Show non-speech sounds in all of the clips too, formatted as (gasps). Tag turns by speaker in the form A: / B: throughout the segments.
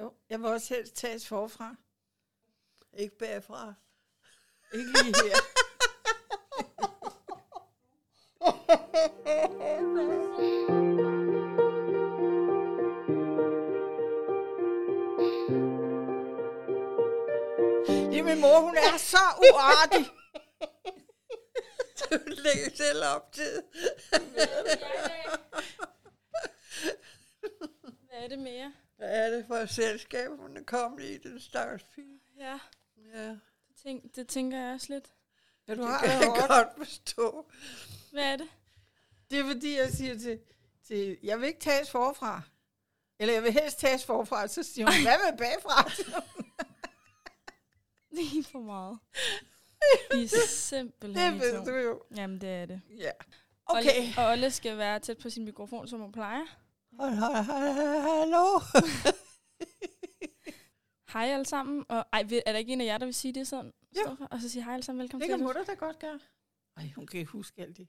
A: Jo, jeg vil også helst tages forfra.
B: Ikke bagfra.
A: Ikke lige (laughs) her. Det er min mor, hun er så
B: (laughs)
A: uartig.
B: Du lægger selv op til.
C: Hvad er det mere?
B: Hvad er det for et selskab, hun er kommet i, den stakkels pige?
C: Ja,
B: Ja,
C: det, tænk, det tænker jeg også lidt.
A: Ja, du
B: det
A: har
B: kan
A: det
B: jeg
A: hårdt.
B: godt forstå.
C: Hvad er det?
A: Det er fordi, jeg siger til, til jeg vil ikke tages forfra. Eller jeg vil helst tages forfra, så siger hun, hvad med
B: (laughs)
A: bagfra?
C: Det er for (laughs) meget. I er simpelthen
A: Det
C: i
A: ved
C: to.
A: du jo.
C: Jamen, det er det.
A: Ja. Okay.
C: Olle, og Olle skal være tæt på sin mikrofon, som hun plejer.
B: Hold, hold, hold, hallo.
C: Hej alle sammen. Og, ej, ved- er der ikke en af jer, der vil sige det sådan?
A: Jo.
C: Stoffer? Og så sige hej alle sammen, velkommen
A: Det kan
C: til.
A: mutter da godt gøre. Ej, hun kan ikke huske alt det.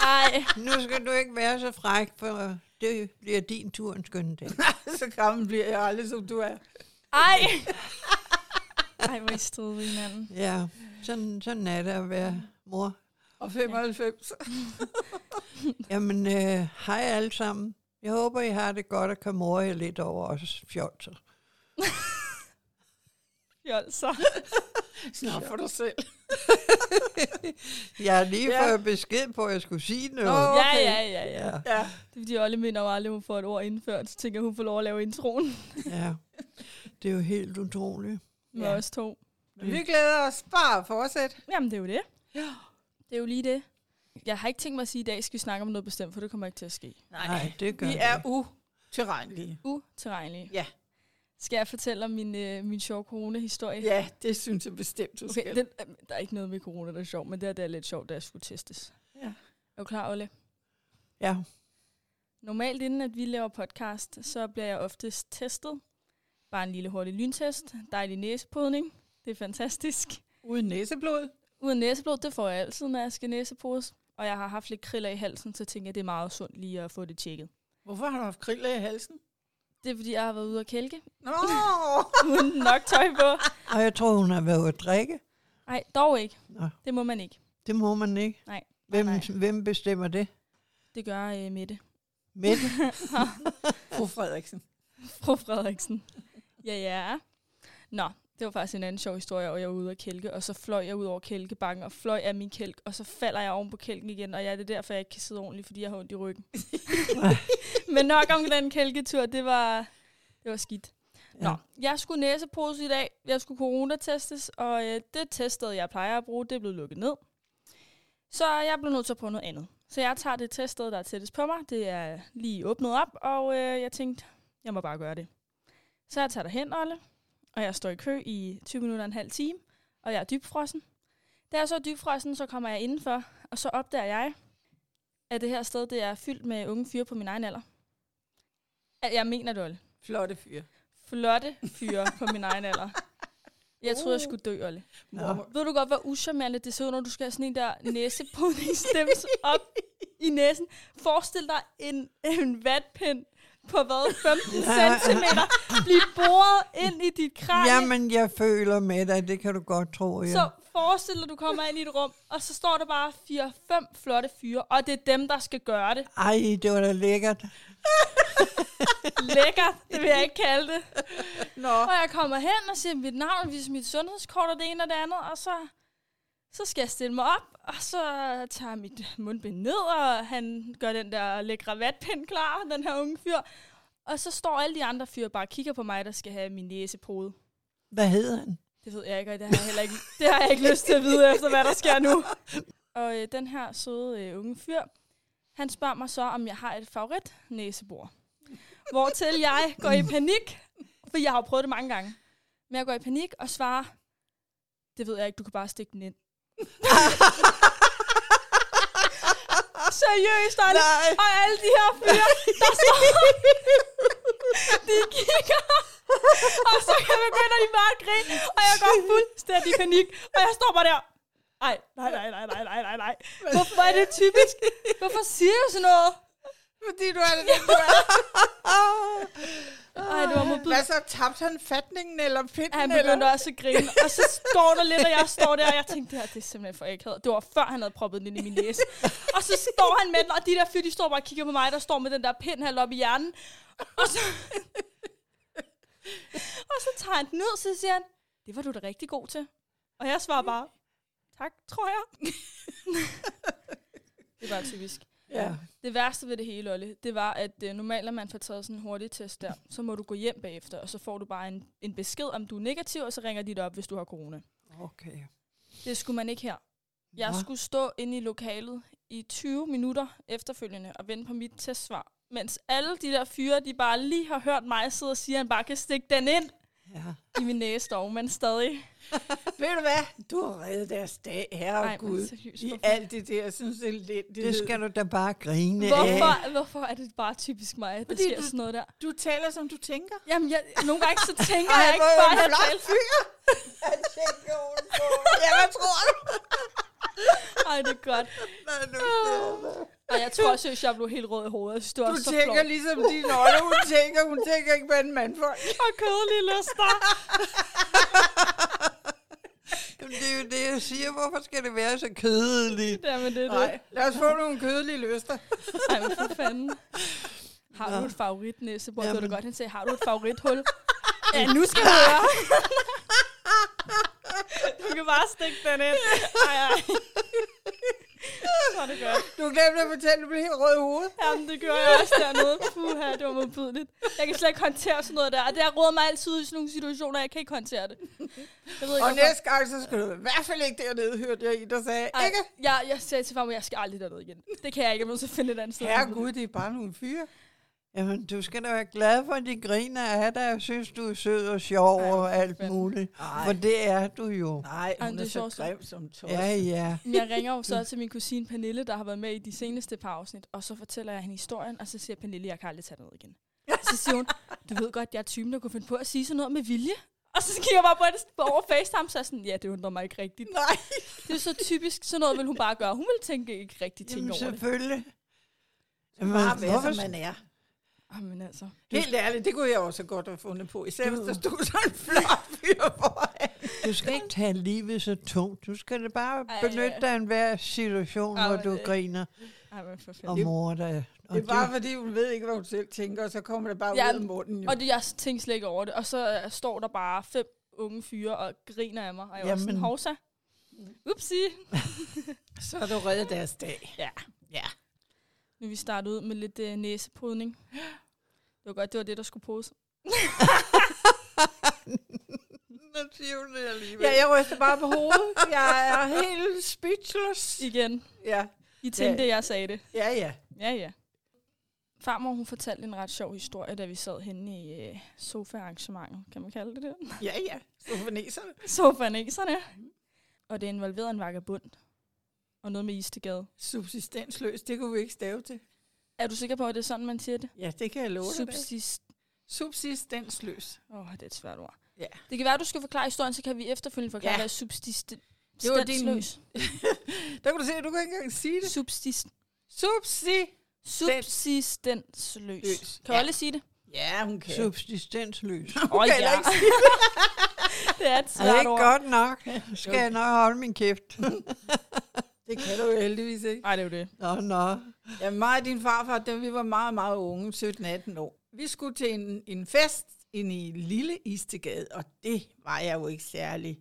C: Ej,
B: Nu skal du ikke være så fræk, for det bliver din tur en
A: (laughs)
B: skøn dag.
A: så gammel bliver jeg aldrig, som du er.
C: ej. Ej, hvor I stod ved hinanden.
B: Ja, sådan, sådan er det at være mor.
A: Og 95.
B: (laughs) Jamen, øh, hej alle sammen. Jeg håber, I har det godt og kan more jer lidt over os fjolser.
C: Fjol, så.
A: Snart for dig selv.
B: Jeg har lige
A: Ja.
B: ja. fået besked på, at jeg skulle sige noget.
A: Nå.
C: Ja,
A: Okay.
C: ja, ja, ja.
B: Ja,
A: Ja.
C: Det er fordi, Olle minder jo aldrig, hun får et ord indført. Så tænker jeg, hun får lov at lave introen
B: ja. Det er jo helt utroligt.
C: med
A: Ja.
C: os to.
A: Men vi glæder os bare at fortsætte.
C: Jamen, det er jo det.
A: Ja.
C: Det er jo lige det. Jeg har ikke tænkt mig at sige, at i dag skal vi snakke om noget bestemt, for det kommer ikke til at ske.
B: Nej, det gør
A: Vi
B: det.
A: er utilregnelige.
C: Uterrenlige.
A: Uh. Ja.
C: Skal jeg fortælle om min, øh, min sjove corona-historie?
A: Ja, det synes jeg bestemt, du
C: Okay,
A: skal.
C: den, øh, der er ikke noget med corona, der er sjovt, men det her det er lidt sjovt, da jeg skulle testes.
A: Ja.
C: Er du klar, Olle?
B: Ja,
C: Normalt inden at vi laver podcast, så bliver jeg oftest testet. Bare en lille hurtig lyntest. Dejlig næsepodning. Det er fantastisk.
A: Uden næseblod.
C: Uden næseblod, det får jeg altid, når jeg skal næsepose. Og jeg har haft lidt kriller i halsen, så tænker jeg, det er meget sundt lige at få det tjekket.
A: Hvorfor har du haft kriller i halsen?
C: Det er, fordi jeg har været ude og kælke, (laughs)
A: Nå!
C: uden nok tøj på.
B: og jeg tror, hun har været ude at drikke.
C: Nej, dog ikke.
B: Nå,
C: Det må man ikke.
B: det må man ikke.
C: Nej,
B: Hvem,
C: nej.
B: hvem bestemmer det?
C: Det gør øh, Mette.
B: Mette?
A: Fru Frederiksen.
C: Fru Frederiksen. Ja, ja. Nå, det var faktisk en anden sjov historie, og jeg var ude af kælke, og så fløj jeg ud over kælkebakken, og fløj af min kælk, og så falder jeg oven på kælken igen, og ja, det er derfor, jeg ikke kan sidde ordentligt, fordi jeg har ondt i (laughs) ryggen. Men nok om den kælketur, det var, det var skidt. Nå,
B: Ja.
C: jeg skulle næsepose i dag, jeg skulle coronatestes, og øh, det teststed, jeg plejer at bruge, det blev lukket ned. Så jeg blev nødt til at prøve noget andet. Så jeg tager det teststed, der er tættest på mig, det er lige åbnet op, og øh, jeg tænkte, jeg må bare gøre det. Så jeg tager derhen, Olle, og jeg står i kø i 20 minutter og en halv time, og jeg er dybfrossen. Da jeg så er dybfrossen, så kommer jeg indenfor, og så opdager jeg, at det her sted det er fyldt med unge fyre på min egen alder. At Jeg mener det, Olle.
A: Flotte fyr.
C: Flotte fyre på min egen alder. Jeg troede, jeg skulle dø, Olle.
A: Mor,
C: Ved du godt, hvor uschammerende det ser ud, når du skal have sådan en der næsepudningsstems op i næsen? Forestil dig en, en vatpind på hvad, 15 cm blive boret ind i dit kranie.
B: Jamen, jeg føler med dig, det kan du godt tro, ja.
C: Så forestil dig, du kommer ind i et rum, og så står der bare 4-5 flotte fyre, og det er dem, der skal gøre det.
B: Ej, det var da lækkert.
C: Lækkert, det vil jeg ikke kalde det.
A: Nå.
C: Og jeg kommer hen og siger mit navn, viser mit sundhedskort og det ene og det andet, og så, så skal jeg stille mig op, og så tager jeg mit mundbind ned, og han gør den der lækre vatpind klar, den her unge fyr. Og så står alle de andre fyre bare og kigger på mig, der skal have min næsepode.
B: Hvad hedder han?
C: Det ved jeg ikke, og det har jeg heller ikke, det har jeg ikke lyst til at vide efter, hvad der sker nu. Og øh, den her søde øh, unge fyr, han spørger mig så, om jeg har et favorit næsebor. Hvortil jeg går i panik, for jeg har jo prøvet det mange gange. Men jeg går i panik og svarer, det ved jeg ikke, du kan bare stikke den ind. (laughs) Seriøst, Olle.
B: Nej.
C: Og alle de her fyre, der står, de kigger, og så begynder de bare at grine, og jeg går fuldstændig i panik, og jeg står bare der. Ej, nej, nej, nej, nej, nej, nej, nej. Hvorfor er det typisk? Hvorfor siger du sådan noget?
A: Fordi du er det, du er.
C: Ej, det var
A: Hvad
C: modbydeligt.
A: så? Tabte han fatningen eller
C: Ja, Han
A: pinden?
C: begyndte
A: eller?
C: også at grine, og så står der lidt, og jeg står der, og jeg tænkte, det her det er simpelthen for akavet. Det var før, han havde proppet den ind i min næse. Og så står han med den, og de der fyre, de står bare og kigger på mig, der står med den der pind her oppe i hjernen. Og så, og så tager han den ud, så siger han, det var du da rigtig god til. Og jeg svarer bare, tak, tror jeg. det var typisk.
B: Ja.
C: Det værste ved det hele, Olle, det var, at øh, normalt, når man får taget sådan en hurtig test der, så må du gå hjem bagefter, og så får du bare en, en besked, om du er negativ, og så ringer de dig op, hvis du har corona.
B: Okay.
C: Det skulle man ikke her. Jeg
B: Nå.
C: skulle stå inde i lokalet i 20 minutter efterfølgende og vente på mit testsvar, mens alle de der fyre, de bare lige har hørt mig sidde og sige, at han bare kan stikke den ind
B: Ja.
C: i min næse dog, men stadig.
A: Ved du hvad? Du har reddet deres dag, herre
C: Ej,
A: Ej,
C: men
A: Gud.
C: seriøst,
A: I
C: hvorfor?
A: alt det der, jeg synes det er lidt.
B: Det skal du da bare grine (laughs) af.
C: Hvorfor, hvorfor er det bare typisk mig, at der
A: Fordi
C: sker
A: du-
C: sådan noget der?
A: Du taler, som du tænker.
C: Jamen, jeg, nogle gange
A: (laughs)
C: så tænker
A: Ej,
C: jeg ikke
A: hvor er
C: bare,
A: du
C: at jeg
A: flot
C: taler-
A: Jeg tænker ovenpå. Ja, hvad tror du?
C: Ej, det er godt.
B: Hvad er du
C: Og jeg tror seriøst, jeg blev helt rød i hovedet. Jeg synes, det var
A: Du
C: så
A: tænker
C: flot.
A: ligesom din olle, hun tænker. Hun tænker ikke, hvad en mandfolk.
C: Og kedelige (laughs) lyster.
B: Jamen, det er jo det, jeg siger. Hvorfor skal det være så kedeligt?
C: Jamen, det er det.
A: Nej, lad os få nogle kødelige lyster.
C: Ej, men for fanden. Har du
B: Nå.
C: et favoritnæsebord? Det var da
B: Jamen.
C: godt, han sagde, har du et (laughs) favorithul? ja, nu skal du høre. (laughs) du kan bare stikke den ind. Ej, ej. Så er det godt.
A: Du glemte at fortælle, du blev helt rød i hovedet.
C: Jamen, det gjorde jeg også dernede. Puha, det var modbydeligt. Jeg kan slet ikke håndtere sådan noget der. Og det har rådet mig altid ud i sådan nogle situationer, jeg kan ikke håndtere det. Jeg ved ikke,
A: Og
C: hvorfor.
A: næste gang, så skal du i hvert fald ikke dernede, hørte jeg i, der sagde,
C: Ej,
A: ikke?
C: Jeg, jeg sagde til farmor, jeg skal aldrig derned igen. Det kan jeg ikke, jeg må så finde et andet sted.
A: Herre Gud, det er bare nogle fyre.
B: Jamen, du skal da være glad for, at de griner af dig, og synes, du er sød og sjov
C: Ej,
B: og alt
C: spændende.
B: muligt.
A: Ej.
B: For det er du jo.
A: Nej,
C: Ej,
A: hun
C: det
A: er
C: er
A: så
C: sjovt.
A: grim som tos.
B: Ja, ja.
C: Men Jeg ringer jo så til min kusine Pernille, der har været med i de seneste par afsnit, og så fortæller jeg hende historien, og så siger Pernille, jeg kan aldrig tage noget igen. Så siger hun, du ved godt, jeg er typen, der kunne finde på at sige sådan noget med vilje. Og så kigger jeg bare på det sådan, over FaceTime, så er jeg sådan, ja, det undrer mig ikke rigtigt.
A: Nej,
C: Det er så typisk, sådan noget vil hun bare gøre. Hun vil tænke ikke rigtig tænke
B: Jamen,
C: over det.
B: selvfølgelig.
A: bare være,
B: hvorfor-
A: som man er.
C: Jamen altså.
A: Helt ærligt, det kunne jeg også godt have fundet på. Især hvis der stod sådan en flot fyr foran.
B: Du skal ikke tage livet så tungt. Du skal da bare
C: Ej,
B: benytte
C: ja.
B: dig af enhver situation,
C: Ej,
B: hvor
C: men
B: du
C: det-
B: griner
C: Ej, men for fanden.
B: og mor dig.
A: Det er bare, fordi hun ved ikke, hvad hun selv tænker, og så kommer det bare
C: Ja,
A: ud af munden. Jo.
C: Og det, jeg tænkte slet ikke over det. Og så øh, står der bare fem unge fyre og griner af mig. Og jeg var sådan,
B: Jamen.
C: hovsa.
A: Mm.
C: Upsi.
A: Så er du reddet deres dag.
C: Nu er vi startet ud med lidt
A: (gasps)
C: øh, næseprydning. Det var godt, det var det, der skulle pose.
B: Nu siger hun det alligevel.
A: Ja, jeg ryster bare på hovedet. Jeg er helt speechless.
C: (laughs) Igen.
A: Ja,
C: I tænkte, jeg sagde det.
A: ja, ja.
C: Ja, ja. Farmor, hun fortalte en ret sjov historie, da vi sad henne i øh, sofaarrangementet. Kan man kalde det (laughs) det?
A: Ja, ja. Sofaneserne.
C: Sofaneserne.
A: Mm.
C: Og det involverede en vagabund. Og noget med Istegade.
A: Subsistensløs, det kunne vi ikke stave til.
C: Er du sikker på, at det er sådan, man siger det?
A: Ja, det kan jeg love dig. da.
C: Subsist.
A: Subsistensløs.
C: Åh, oh, det er et svært ord.
A: Ja.
C: Det kan være, du skal forklare historien, så kan vi efterfølgende forklare,
A: Ja.
C: ja. hvad subsist...
A: Det var din-
C: stansløs-
A: Der kan du se, at du kan ikke engang sige det.
C: Subsist...
A: Subsi. Løs.
C: Subsistensløs. Kan
A: Ja.
C: ja. alle sige det?
A: Ja, hun kan.
B: Subsistensløs.
C: Åh oh,
A: heller
C: ja.
A: ikke
C: (laughs) det er et
B: Er det
C: svært
B: ikke
C: ord.
B: godt nok? Skal jeg nok holde min kæft? (laughs)
A: Det kan du jo heldigvis ikke.
C: Nej, det er jo det.
B: Nå, nå.
A: Ja, mig og din farfar, da vi var meget, meget unge, 17-18 år. Vi skulle til en, en fest inde i Lille Istegade, og det var jeg jo ikke særlig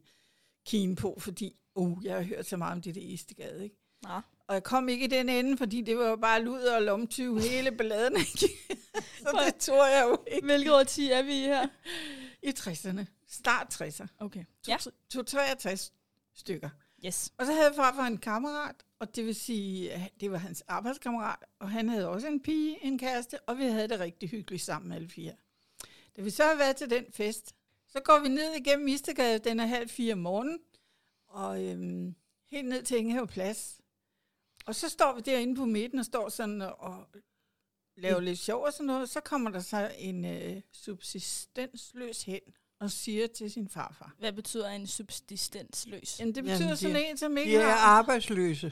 A: keen på, fordi uh, jeg har hørt så meget om det der Istegade, ikke?
C: Nå.
A: Og jeg kom ikke i den ende, fordi det var jo bare luder og lomtyv hele balladen, ikke? (laughs) så det tror jeg jo ikke.
C: Hvilket årti er vi i her?
A: I 60'erne. Start 60'er.
C: Okay. Ja.
A: Ja. 63 stykker.
C: Yes.
A: Og så havde farfar en kammerat, og det vil sige, at det var hans arbejdskammerat, og han havde også en pige, en kæreste, og vi havde det rigtig hyggeligt sammen alle fire. Da vi så har været til den fest, så går vi ned igennem Istegade, den er halv fire om morgenen, og øhm, helt ned til Ingehave Plads. Og så står vi derinde på midten og står sådan og laver lidt sjov og sådan noget, så kommer der så en øh, subsistensløs hen og siger til sin farfar.
C: Hvad betyder en subsistensløs?
A: Jamen det
B: Jamen,
A: betyder
B: de-
A: sådan en, som ikke
B: De er
A: har...
B: arbejdsløse.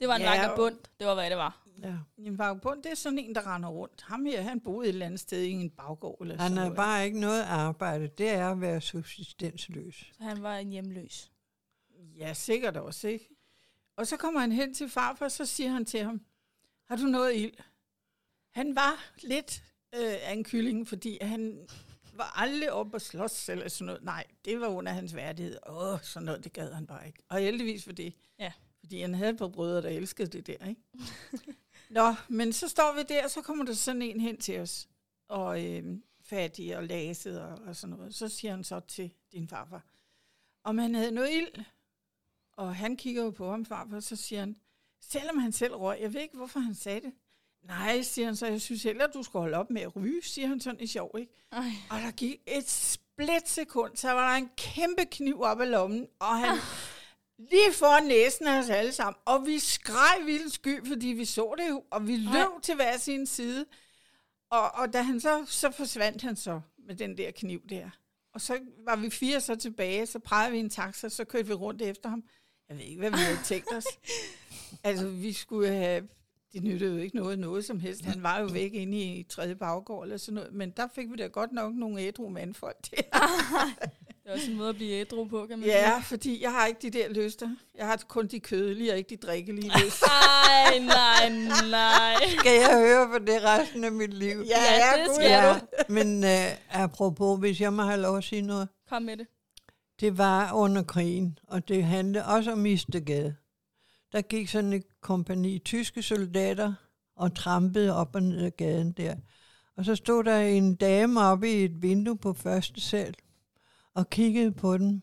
C: Det var en
A: Ja,
C: vagabund. Det var, hvad det var.
B: Ja.
A: Min vagabond, det er sådan en, der render rundt. Ham her, han boede et eller andet sted i en baggård. Eller
B: Han
A: sådan
B: har
A: noget.
B: bare ikke noget arbejde. Det er at være subsistensløs.
C: Så han var en hjemløs.
A: Ja, sikkert også, ikke? Og så kommer han hen til farfar, så siger han til ham, har du noget ild? Han var lidt øh, af en kylling, fordi han var aldrig oppe at slås eller sådan noget. Nej, det var under hans værdighed. Åh, sådan noget, det gad han bare ikke. Og heldigvis for det.
C: Ja.
A: Fordi han havde et par brødre, der elskede det der, ikke? Nå, men så står vi der, og så kommer der sådan en hen til os. Og øh, fattig og laset og, og sådan noget. Så siger han så til din farfar, om han havde noget ild. Og han kigger jo på ham, farfar, og så siger han, selvom han selv røg, jeg ved ikke, hvorfor han sagde det. Nej, siger han så, jeg synes heller, du skal holde op med at ryge, siger han sådan i sjov, ikke?
C: Ej.
A: Og der gik et splitsekund, så var der en kæmpe kniv op af lommen, og han lige foran næsen af os alle sammen. Og vi skreg vildt sky, fordi vi så det jo, og vi løb
C: Ej.
A: til hver sin side. Og, og da han så, så forsvandt han så med den der kniv der. Og så var vi fire så tilbage, så pegede vi en taxa, så kørte vi rundt efter ham. Jeg ved ikke, hvad vi havde tænkt os. Altså, vi skulle have... Det nyttede jo ikke noget, noget som helst. Han var jo væk inde i tredje baggård eller sådan noget. Men der fik vi da godt nok nogle ædru mandfolk til.
C: Det er også en måde at blive ædru på, kan man sige.
A: Ja, fordi jeg har ikke de der lyster. Jeg har kun de kødelige og ikke de (laughs) drikkelige lyster.
C: Ej, nej, nej.
B: Skal jeg høre på det resten af mit liv?
A: Ja, ja,
C: det
A: gud,
C: skal
A: ja.
C: du.
B: Men øh, apropos, hvis jeg må have lov at sige noget.
C: Kom med det.
B: Det var under krigen, og det handlede også om Istegade. Der gik sådan et kompani tyske soldater og trampede op og ned ad gaden der. Og så stod der en dame oppe i et vindue på første sal og kiggede på den.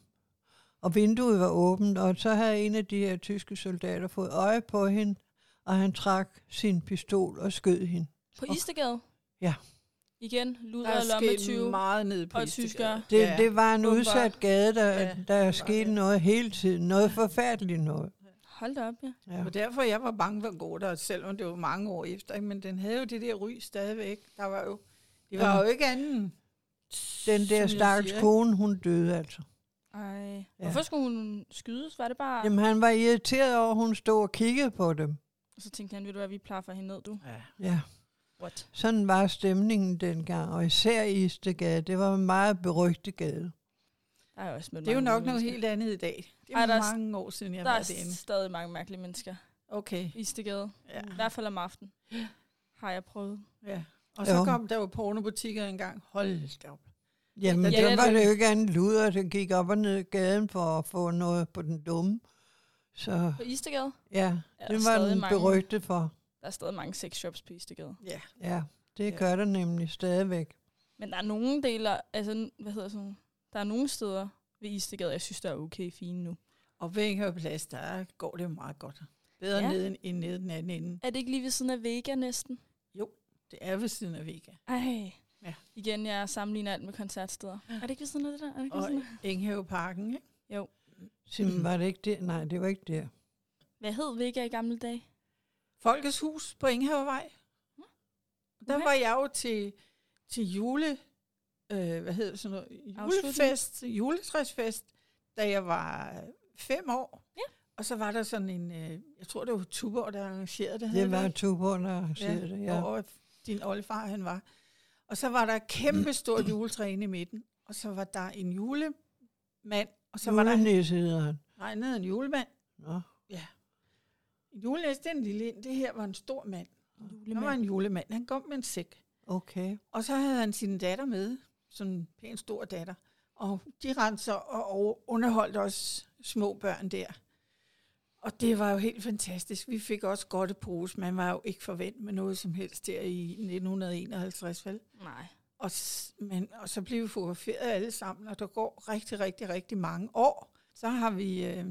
B: Og vinduet var åbent, og så havde en af de her tyske soldater fået øje på hende, og han trak sin pistol og skød hende.
C: På Istegade?
B: Ja.
C: Igen,
A: Der
C: luder og lomme
A: er sket
C: 20.
A: meget nede på
C: og
A: Istegade.
C: tyskere.
B: Det, ja, det var en
C: åbenbart.
B: udsat gade, der,
A: Ja,
B: ja, der skete noget hele tiden. Noget forfærdeligt noget.
C: Hold da op, ja.
B: Ja.
A: Og derfor jeg var bange for at gå der, selvom det var mange år efter. ikke? Men den havde jo det der ry stadigvæk. Der var jo, det var
B: Ja.
A: jo ikke anden.
B: Den
A: som
B: der
A: jeg
B: stakkels
A: siger,
B: kone, hun døde altså.
C: Ej. Ja. Hvorfor skulle hun skydes? Var det bare... Jamen.
B: Jamen, han var irriteret over, at hun stod og kiggede på dem.
C: Og så tænkte han, ved du hvad, vi plaffer hende ned, du.
A: ikke? Ja.
B: Ja,
C: What?
B: sådan var stemningen dengang, og især i Istegade. Det var en meget berygtet gade.
C: Der er jo også mødt
A: Det er jo
C: mange
A: nok noget
C: mennesker.
A: helt andet i dag. Det er
C: Ej, der er s-
A: mange år siden, jeg
C: Der
A: var
C: er
A: derinde.
C: stadig mange mærkelige mennesker
A: Okay,
C: i Istegade.
A: ja.
C: I hvert fald om aftenen. Har jeg prøvet.
A: ja. Og så
B: Jo.
A: kom der jo pornobutikker engang. Hold da op.
C: Ja,
B: Jamen, ja,
C: det er
B: der var
C: det.
B: det jo ikke andet luder, der gik op og ned ad gaden for at få noget på den dumme. Så
C: På Istegade?
B: ja,
C: Ja,
B: det
C: der er
B: var
C: stadig
B: den
C: mange.
B: berygtet for.
C: Der er stadig mange sexshops på Istegade.
A: Ja.
B: Ja, det
A: Ja.
B: gør der nemlig stadigvæk.
C: Men der er nogle deler, altså, n- hvad hedder sådan, der er nogle steder ved Istegade, jeg synes, der er okay fine nu.
A: Og ved Ingehave Plads, der går det jo meget godt. Bedre
C: Ja.
A: ja. nede end nede den anden ende.
C: Er det ikke lige ved siden af Vega næsten?
A: Det er ved siden af Vega.
C: Ej.
A: Ja.
C: Igen, jeg sammenligner alt med koncertsteder. Er det ikke ved siden af det der? Er det ikke ved
A: Og
C: siden af?
A: Enghaveparken, ikke?
B: Simpelthen
A: Mhm.
B: var det ikke det? Nej, det var ikke det.
C: Hvad hed Vega i gamle dage?
A: Folkets Hus på Enghavevej. Der
C: Hm. Okay.
A: var jeg jo til, til jule, øh, hvad hedder det sådan noget,
C: Afslutning.
A: julefest, juletræsfest, da jeg var øh, fem år.
C: Ja.
A: Og så var der sådan en, øh, jeg tror det var Tuborg, der arrangerede det. havde
B: Det var
A: ikke?
B: Tuborg, der siger det,
A: ja.
B: ja.
A: Hvor din oldefar han var. Og så var der et kæmpe stort juletræ inde i midten, og så var der en julemand, og så var der
B: Julenisse hedder han.
A: nej, nede en julemand.
B: Nå.
A: En julenæs, det er en lille en. Det her var en stor mand. Han var
C: Julemand.
A: en julemand. Han kom med en sæk.
B: Okay.
A: Og så havde han sin datter med, sådan en pæn stor datter. Og de rendte så og over- underholdt også små børn der. Og det var jo helt fantastisk. Vi fik også godt pose. Man var jo ikke forventet med noget som helst der i 1951, vel?
C: Nej.
A: Og, s- men, og så blev vi fotograferet alle sammen, og der går rigtig, rigtig, rigtig mange år. Så har vi øh,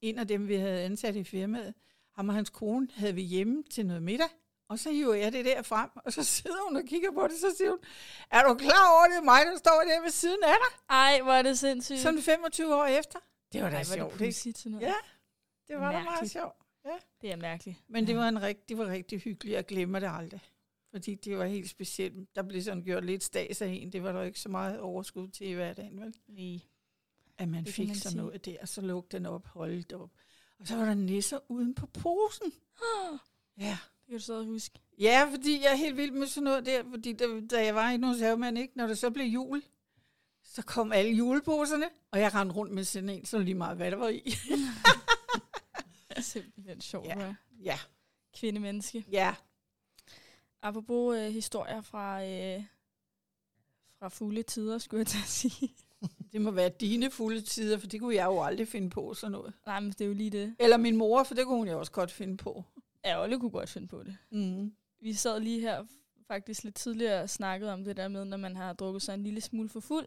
A: en af dem, vi havde ansat i firmaet, ham og hans kone, havde vi hjemme til noget middag. Og så hiver jeg det der frem, og så sidder hun og kigger på det, så siger hun, er du klar over, det er mig, der står der ved siden af dig,
C: Ej, hvor er det sindssygt.
A: sådan 25 år efter? Mm. Det var da
C: Ej, hvor er
A: sjovt,
C: det
A: det,
C: pudsigt sådan noget.
A: Ja. det var da meget
C: mærkeligt.
A: sjovt.
C: Det er mærkeligt.
A: Men det var, en rigt, det var rigtig hyggeligt, jeg glemmer det aldrig. Fordi det var helt specielt. Der blev sådan gjort lidt stads af en, det var der ikke så meget overskud til i hverdagen, vel?
C: Nej.
A: at man
C: Det kan
A: fik
C: man
A: sådan
C: sige.
A: noget der, så
C: (gasps)
A: lukkede den op, holdt op. Og så var der nisser uden på posen. Ja,
C: Det Kan du stadig huske?
A: Ja, fordi jeg er helt vild med sådan noget der, fordi da, da jeg var i nogen savemand, ikke? når det så blev jul, så kom alle juleposerne, og jeg rendte rundt med sådan en, så lige meget hvad der var i. (laughs)
C: Simpelthen sjovt,
A: Ja.
C: ja.
A: ja,
C: kvindemenneske.
A: ja.
C: Apropos øh, historier fra, øh, fra fulde tider, skulle jeg til at sige. (laughs)
A: Det må være dine fulde tider, for det kunne jeg jo aldrig finde på sådan noget.
C: Nej, men det er jo lige det.
A: Eller min mor, for det kunne hun jo også godt finde på.
C: Ja, Olle kunne godt finde på det.
A: Mm.
C: Vi sad lige her faktisk lidt tidligere og snakkede om det der med, når man har drukket sig en lille smule for fuld.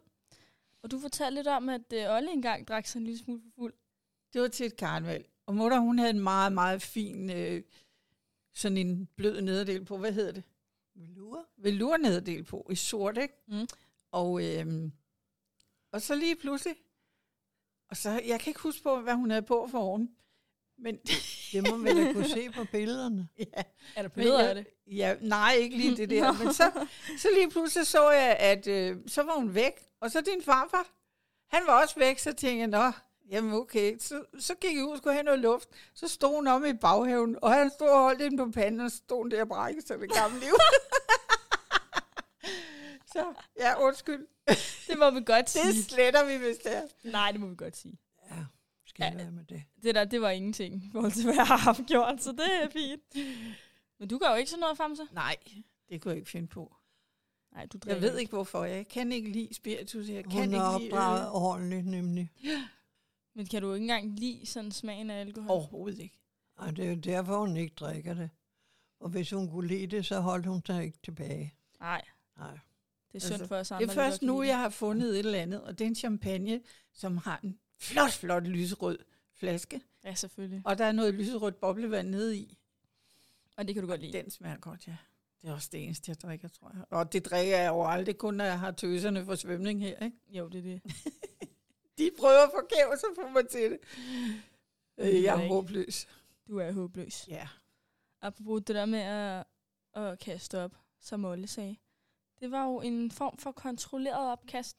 C: Og du fortalte lidt om, at øh, Olle engang drak sig en lille smule for fuld.
A: Det var til et karneval. Og mutter, hun havde en meget, meget fin, øh, sådan en blød nederdel på. Hvad hedder det?
B: Velour?
A: Velur nederdel på, i sort, ikke?
C: Mm.
A: Og, øh, og så lige pludselig, og så, jeg kan ikke huske på, hvad hun havde på for oven. Men, (laughs)
B: Det må man da kunne se på billederne.
A: ja,
C: Er der
A: Men
C: billeder
A: jeg-
C: af det?
A: ja, nej, ikke lige det der. men så, så lige pludselig så jeg, at øh, så var hun væk. Og så din farfar, han var også væk, så tænkte jeg, nå, jamen okay. Så, så gik jeg ud og skulle have noget luft. Så stod hun om i baghaven, og han stod og holdt hende på panden, og så stod hun der og brækkede sig det gamle liv. (laughs) så ja, undskyld.
C: Det må vi godt
A: Det
C: sige.
A: sletter vi, hvis det er.
C: Nej, det må vi godt sige.
B: Ja, skal jeg være med det.
C: Det der, det var ingenting i forhold til, hvad jeg har haft gjort, så det er fint. Men du gør jo ikke sådan noget, Famse.
A: Nej, det kunne jeg ikke finde på.
C: Nej, du drikker
A: Jeg ved ikke hvorfor. Jeg kan ikke lide spiritus. Jeg kan
B: Hun er
A: ikke lide
B: opdraget
A: øl.
B: ordentligt nemlig.
C: Men kan du ikke engang lide sådan smagen af alkohol?
A: Overhovedet ikke.
B: Og det er jo derfor, hun ikke drikker det. Og hvis hun kunne lide det, så holdt hun sig ikke tilbage.
C: Nej,
B: Nej.
C: det er synd
A: Altså,
C: for os andre.
A: Det er
C: der
A: først
C: godt kan
A: nu,
C: lide
A: jeg har fundet et eller andet, og det er en champagne, som har en flot, flot lyserød flaske.
C: det. Ja, selvfølgelig.
A: Og der er noget lyserødt boblevand nede i.
C: Og det kan du godt lide.
A: Den smager godt, ja. Det er også det eneste, jeg drikker, tror jeg. Og det drikker jeg jo aldrig, kun når jeg har tøserne for svømning her. Ikke?
C: Jo, det er det.
A: De prøver forgæves at få mig til det. Øh, Jeg er
C: Ikke.
A: håbløs.
C: Du er håbløs.
A: (laughs) Ja.
C: Apropos det der med at, at kaste op, som Olle sagde. Det var jo en form for kontrolleret opkast,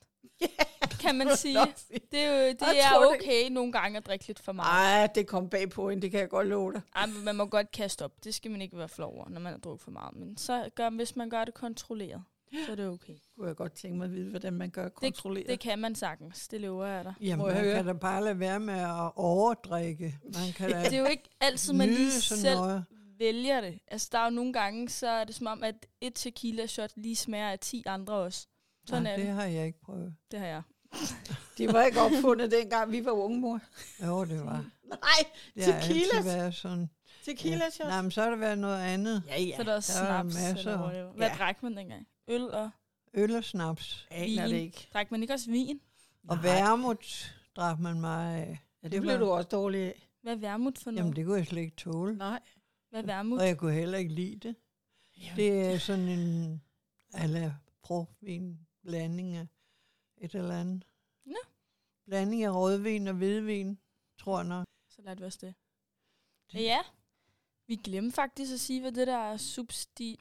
A: (laughs)
C: kan man sige. Det er, jo, det
A: Jeg
C: er
A: tror det.
C: okay nogle gange at drikke lidt for meget.
A: Nej, det kom bag på hende, det kan jeg godt love dig.
C: Ej, men man må godt kaste op. Det skal man ikke være flov over, når man har drukket for meget. Men så gør, hvis man gør det kontrolleret, så er det okay.
A: Kunne jeg godt tænke mig at vide, hvordan man gør kontrolleret.
C: Det kan man sagtens. Det lover jeg dig.
B: Jamen,
A: Må jeg
B: man
A: høre?
B: kan da bare lade være med at overdrikke. Man kan da
C: Det er jo ikke altid, man lige
B: nyde sådan
C: selv
B: noget.
C: vælger det. Altså, der er jo nogle gange, så er det som om, at et tequila shot lige smager af 10 andre også. Sådan
B: Nej,
C: er
B: det
C: det.
B: har jeg ikke prøvet.
C: Det har jeg.
A: det var ikke opfundet, dengang vi var unge, mor.
B: Jo, det var.
A: Nej,
B: Det har
A: Tequilas?
B: altid været sådan.
A: tequila shots.
B: Nej, men så har det været noget andet.
A: Ja, ja.
C: Så er der også
B: der er
C: snaps.
B: masser.
C: Eller whatever. Hvad
A: Ja.
C: drak man dengang? Øl og...
B: Øl og snaps.
A: Aner
C: vin.
A: det ikke.
C: Drak man ikke også vin?
B: Og
A: Nej.
B: værmut drak man meget af.
A: Ja,
B: det
A: det blev
B: var-
A: du også dårlig af.
C: Hvad er vermut for noget?
B: Jamen, Øh, det kunne jeg slet ikke tåle.
A: Nej.
C: Hvad er vermut?
B: Og jeg kunne heller ikke lide det.
A: Det,
B: Det er sådan en ala brugvin blanding af et eller andet.
C: Nå.
B: Blanding af rødvin og hvidvin, tror jeg nok.
C: Så lærte vi også det.
B: Det-
C: Ja. Vi glemte faktisk at sige, hvad det der er substi...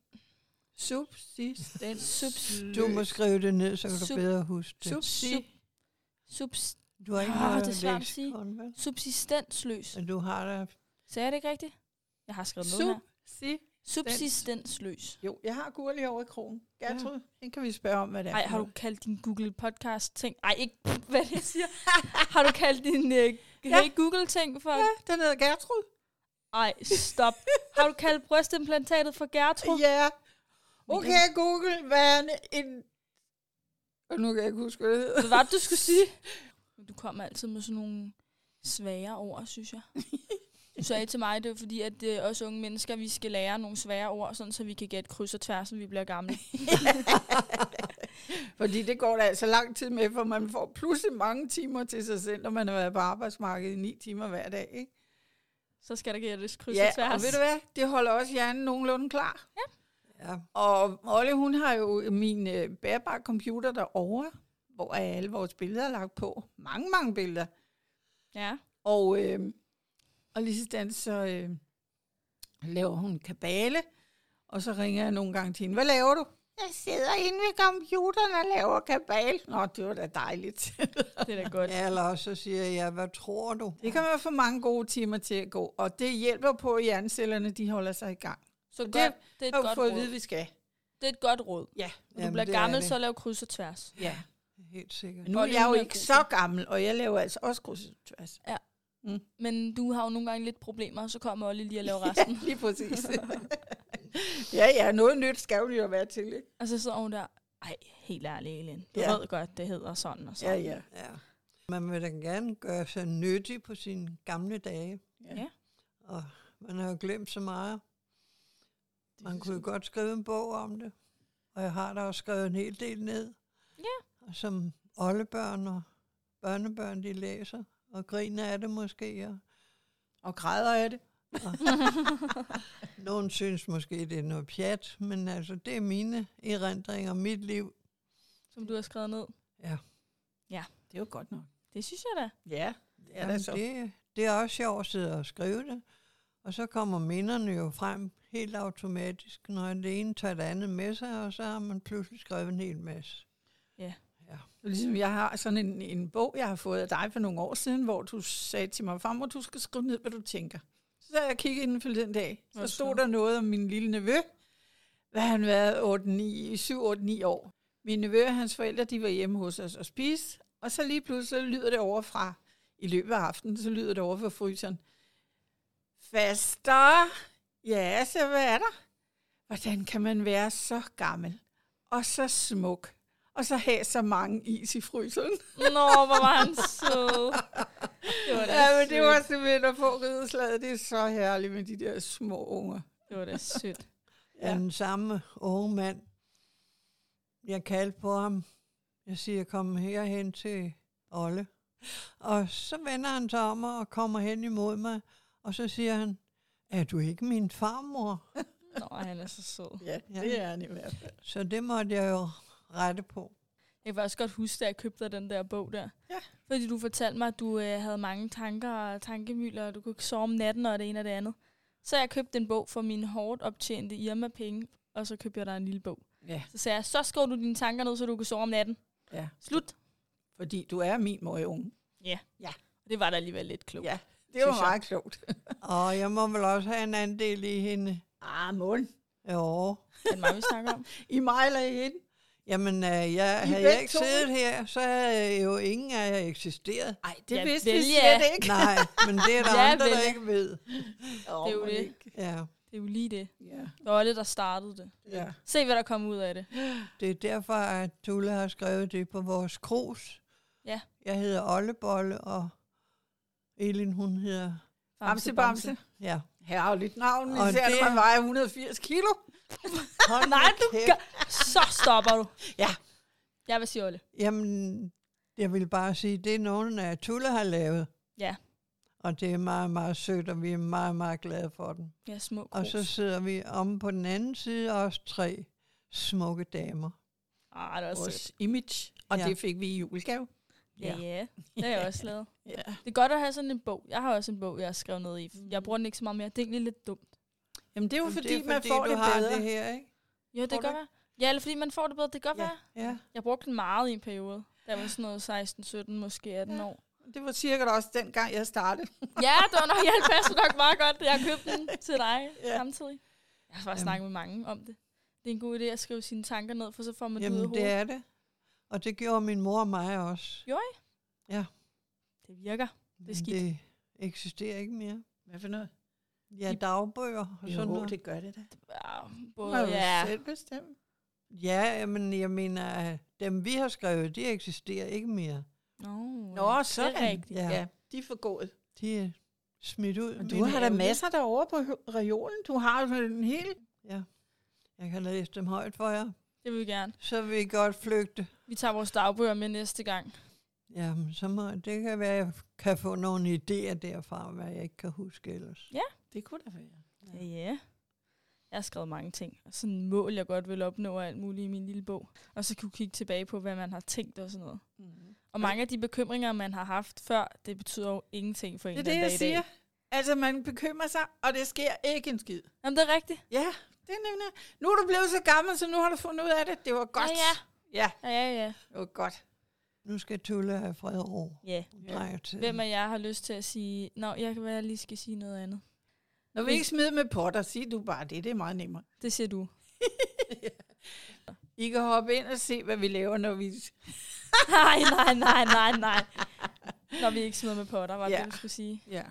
A: subsistens.
C: Subs-
B: Du må skrive det ned, så kan du
C: Sup-
B: bedre huske det.
A: Subsi.
C: Sub- subs,
B: Du har ikke
C: Ah,
B: noget
C: det er svært at sige.
B: leksikon, vel?
C: subsistensløs.
B: Men du har da...
C: Sagde jeg det ikke rigtigt? Jeg har skrevet noget her.
A: Subsi.
C: Subsistensløs.
A: Jo, jeg har gurli over i krogen. Gertrud, ja. hende kan vi spørge om, hvad det er.
C: Ej,
A: for
C: har du
A: noget.
C: kaldt din Google podcast ting? Ej, ikke (laughs) pff, hvad det (laughs) siger. Har du kaldt din øh, hey Google ting for?
A: Ja, (laughs) den hedder Gertrud.
C: Ej, stop. Har du kaldt brystimplantatet for Gertrud?
A: (laughs) Ja. Okay, Google, hvad er en- en... Og nu kan jeg ikke huske, hvad det hedder.
C: Hvad var det, du skulle sige? Du kommer altid med sådan nogle svære ord, synes jeg. Du sagde til mig, det er fordi, at øh, os unge mennesker, vi skal lære nogle svære ord, sådan, så vi kan gætte kryds og tværs, når vi bliver gamle.
A: Fordi det går der altså lang tid med, for man får pludselig mange timer til sig selv, når man har været på arbejdsmarkedet i ni timer hver dag, ikke?
C: Så skal der gættes kryds
A: Ja,
C: og tværs.
A: og ved du hvad? Det holder også hjernen nogenlunde klar.
B: Ja,
A: Og Olle, hun har jo min øh, bærbare computer derovre, hvor er alle vores billeder er lagt på. Mange, mange billeder.
C: Ja.
A: Og, øh, og lige sådan så øh, laver hun kabale, og så ringer jeg nogle gange til hende. Hvad laver du? Jeg sidder inde ved computeren og laver kabale. Nå, det var da dejligt. (laughs)
C: Det er da godt.
B: Ja, eller også så siger jeg, hvad tror du?
A: det kan man få mange gode timer til at gå, og det hjælper på, at hjernecellerne de holder sig i gang.
C: Så
A: det
C: det, godt, det er
A: har
C: et
A: jo
C: godt
A: fået
C: råd.
A: at vide, vi skal.
C: Det er et godt råd.
A: Ja,
C: Når du bliver
B: det er
C: gammel,
B: det.
C: så lav kryds og tværs.
A: ja.
B: Helt sikkert.
A: Men nu
C: Og
A: er
C: det
A: jeg
C: er
A: jo
C: hun, der
A: ikke
C: er god
A: så gammel, og jeg laver altså også krydset tværs.
C: Men du har jo nogle gange lidt problemer, og så kommer Olli lige
A: (laughs)
C: og laver resten.
A: Lige præcis. (laughs) ja, ja, noget nyt skal jo lige at være til, ikke?
C: og så sidder hun der, ej, helt ærlig, Elin. Du
A: Ja.
C: ved godt, det hedder sådan og
A: Ja,
C: sådan.
A: ja.
B: Ja. Man vil da gerne gøre sig nyttig på sine gamle dage.
C: Ja.
B: Og man har jo glemt så meget. Man kunne jo godt skrive en bog om det. Og jeg har da også skrevet en hel del ned. Ja. Som oldebørn og børnebørn, de læser. Og griner af det måske. Og
A: Og græder af det.
B: nogen synes måske, det er noget pjat. Men altså, det er mine erindringer, mit liv.
C: Som du har skrevet ned.
A: Det er jo godt nok.
C: Det synes jeg da.
A: Ja, det er da
B: Jamen,
A: så.
B: det, det er også sjovt at sidde og skrive det. Og så kommer minderne jo frem helt automatisk, når det ene tager det andet med sig, og så har man pludselig skrevet en hel masse.
A: Ligesom jeg har sådan en, en bog, jeg har fået af dig for nogle år siden, hvor du sagde til mig, farmor, du skal skrive ned, hvad du tænker. Så sad jeg og kiggede inden for den dag.
C: Hvor
A: Så
C: er det
A: stod
C: sjovt.
A: der noget om min lille nevø. Hvad har han været 8, 9, 7, 8, 9 år. Min nevø og hans forældre, de var hjemme hos os og spise. Og så lige pludselig så lyder det overfra, i løbet af aftenen, så lyder det over fra fryseren. Faster! Ja, så hvad er der? Hvordan kan man være så gammel og så smuk? og så have så mange is i fryseren.
C: Nå, hvor var han sød. Det var da
A: Ja, men det
C: sødt.
A: var simpelthen at få rideslaget. Det er så herligt med de der små unger.
C: det var da sødt.
A: Ja.
B: Ja. Den samme unge mand, jeg kaldte på ham. Jeg siger, kom herhen til Olle. Og så vender han sig om og kommer hen imod mig, og så siger han, er du ikke min farmor?
C: Nå, han er så sød.
A: Ja,
B: Ja.
A: det er han i hvert fald.
B: Så det måtte jeg jo rette på.
C: Jeg kan også godt huske, da jeg købte dig den der bog der.
A: Ja.
C: Fordi du fortalte mig, at du øh, havde mange tanker og tankemylder, og du kunne ikke sove om natten og det ene og det andet. Så jeg købte en bog for mine hårdt optjente Irma-penge, og så købte jeg dig en lille bog.
A: Ja.
C: Så sagde jeg, så skriver du dine tanker ned, så du kan sove om natten.
A: ja.
C: Slut.
A: Fordi du er min møge unge.
C: Det var da alligevel lidt klogt.
A: Ja. Det
C: Synes
A: var
C: jeg.
A: meget klogt.
B: Og jeg må vel også have en andel i hende.
A: Ah, mund.
B: Jo.
C: Den var vi snakker om.
A: I mig eller i hende?
B: Jamen, øh, jeg,
A: I
B: havde
A: begge
B: jeg ikke
A: to?
B: siddet her, så havde jo ingen af jer eksisteret.
A: Nej, det
C: Ja,
A: ja, vidste vi
C: vel, ja.
A: slet ikke.
B: Nej, men det er der
C: Ja,
B: andre, der
C: vel.
B: ikke ved.
A: Oh,
C: det er jo det.
B: Ja,
C: Det er jo lige det.
A: Ja,
C: Det var det, der startede det.
A: ja.
C: Se, hvad der kom ud af det.
B: det er derfor, at Tulle har skrevet det på vores krus.
C: Ja.
B: Jeg hedder Ollebolle, og Elin, hun hedder...
A: Bamse, bamse.
B: Ja.
A: Herligt navn,
B: Og
A: især når
B: det-
A: man vejer 180 kilo.
C: (laughs)
B: Hold
C: Nej,
B: nu
C: du
B: kæft.
C: gør... Så stopper du.
A: Ja.
C: Jeg vil sige Olle.
B: Jamen, jeg vil bare sige, det er nogen af Tulle har lavet.
C: Ja.
B: Og det er meget, meget sødt, og vi er meget, meget glade for den.
C: Ja, små krus.
B: Og så sidder vi om på den anden side også tre smukke damer.
C: Ah, det var sødt.
A: Vores image. Og
B: Ja.
A: det fik vi i julegave.
C: Ja, ja. Det har jeg også lavet.
A: Ja.
C: Det er godt at have sådan en bog. Jeg har også en bog, jeg har skrevet ned i. Jeg bruger den ikke så meget mere. Det er egentlig lidt dumt.
A: Jamen, det er jo
B: Jamen,
A: fordi,
B: det er,
A: man
B: fordi
A: får
B: du
A: det
B: har
A: bedre.
B: det her, ikke?
C: Jo, det
A: Tror
C: kan
A: du
C: godt
A: ikke?
C: være. Ja, eller fordi man får det bedre. Det kan godt
A: Ja.
C: være.
B: Ja.
C: Jeg brugte den meget i en periode. Da jeg var sådan noget 16, 17, måske 18
A: Ja.
C: år.
A: Det var cirka også dengang, jeg startede.
C: Ja, det var nok, jeg passer nok meget godt, at jeg købte den til dig
A: Ja.
C: ja. samtidig. Jeg har faktisk
B: Jamen.
C: snakket med mange om det. Det er en god idé at skrive sine tanker ned, for så får man det ud af
B: Jamen, det
C: hovedet. Det,
B: er det. Og det gjorde min mor og mig også.
C: det virker.
B: Men
C: er skidt.
B: det eksisterer ikke mere.
A: Hvad for noget?
B: Ja, dagbøger og sådan noget.
A: det gør det da. Det
C: Ja,
A: må
C: både,
A: ja.
C: ja.
A: selv bestemme.
B: Ja, men jeg mener, at dem vi har skrevet, de eksisterer ikke mere.
C: Nå,
A: Nå,
C: ja, Det
A: sådan.
C: er rigtigt.
A: Ja. ja, de er forgået.
B: De er smidt ud.
A: Men du
B: mine
A: har da
B: ældre.
A: masser derovre på hø- reolen. Du har jo en hel...
B: Ja. Jeg kan læse dem højt for jer.
C: Det vil vi gerne.
B: Så vil I godt flygte.
C: Vi tager vores dagbøger med næste gang.
B: Jamen, så må, det kan være, at jeg kan få nogle idéer derfra, hvad jeg ikke kan huske ellers.
A: Det kunne da være.
C: Ja, ja. Jeg har skrevet mange ting, og sådan mål, jeg godt vil opnå og alt muligt i min lille bog. Og så kunne kigge tilbage på, hvad man har tænkt og sådan noget.
A: Mm.
C: Og mange af de bekymringer, man har haft før, det betyder jo ingenting for en
A: Det er
C: den
A: det, jeg
C: dag i dag.
A: siger. Altså, man bekymrer sig, og det sker ikke en skid.
C: Jamen, det er rigtigt.
A: Ja, det er nemlig... Nu er du blevet så gammel, så nu har du fundet ud af det. Det var godt.
C: Ja,
A: ja.
C: ja. Ja, ja, ja.
A: det var godt.
B: Nu skal Tulle have fred og ro.
C: ja.
A: Ja.
B: Ja.
C: Hvem af jer har lyst til at sige, nå, jeg kan være, jeg lige skal sige noget andet.
A: Når vi ikke smider med potter, sig du bare det. Det er meget nemmere.
C: Det siger
A: (laughs)
C: du.
A: I kan hoppe ind og se, hvad vi laver, når vi...
C: nej, nej, nej, nej, nej. Når vi ikke smider med potter, var det,
A: Ja.
C: det, du skulle sige.
A: Ja.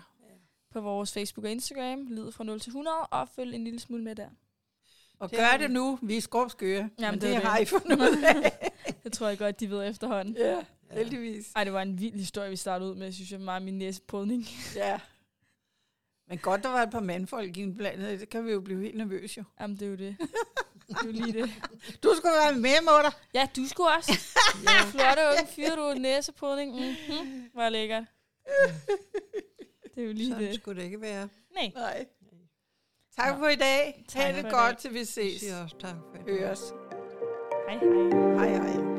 C: På vores Facebook og Instagram, lyd fra 0 til 100, og følg en lille smule med der.
A: Og
B: Det
A: gør
B: er-
A: det nu. Vi er skrubskøre.
C: Jamen,
A: men
C: det
A: det,
C: er
A: det
C: det.
A: har I fundet ud af.
C: Det tror jeg godt, de ved efterhånden.
A: ja, heldigvis.
C: Ej, det var en vild historie, vi startede ud med, synes jeg, meget min næseprødning.
A: Ja. Men godt, der var et par mandfolk indblandet. Det kan vi jo blive helt nervøse jo.
C: Jamen, det er jo det. Det er jo lige det.
A: Du skal være med, mutter.
C: Ja, du skulle også. ja. Flotte unge fyre, du næseprødning. Mm-hmm. Hvor lækkert. Det er jo lige
B: Sådan
C: det.
B: skulle det ikke være.
C: Nej.
A: Nej. Tak
C: Nå.
A: for i dag.
C: Tak
A: Ha'
C: for
A: det
C: i
A: godt,
C: dag.
A: til vi
B: Jeg
A: ses.
B: siger også tak for det.
A: Høres.
C: Hej, hej.
A: Hej, hej.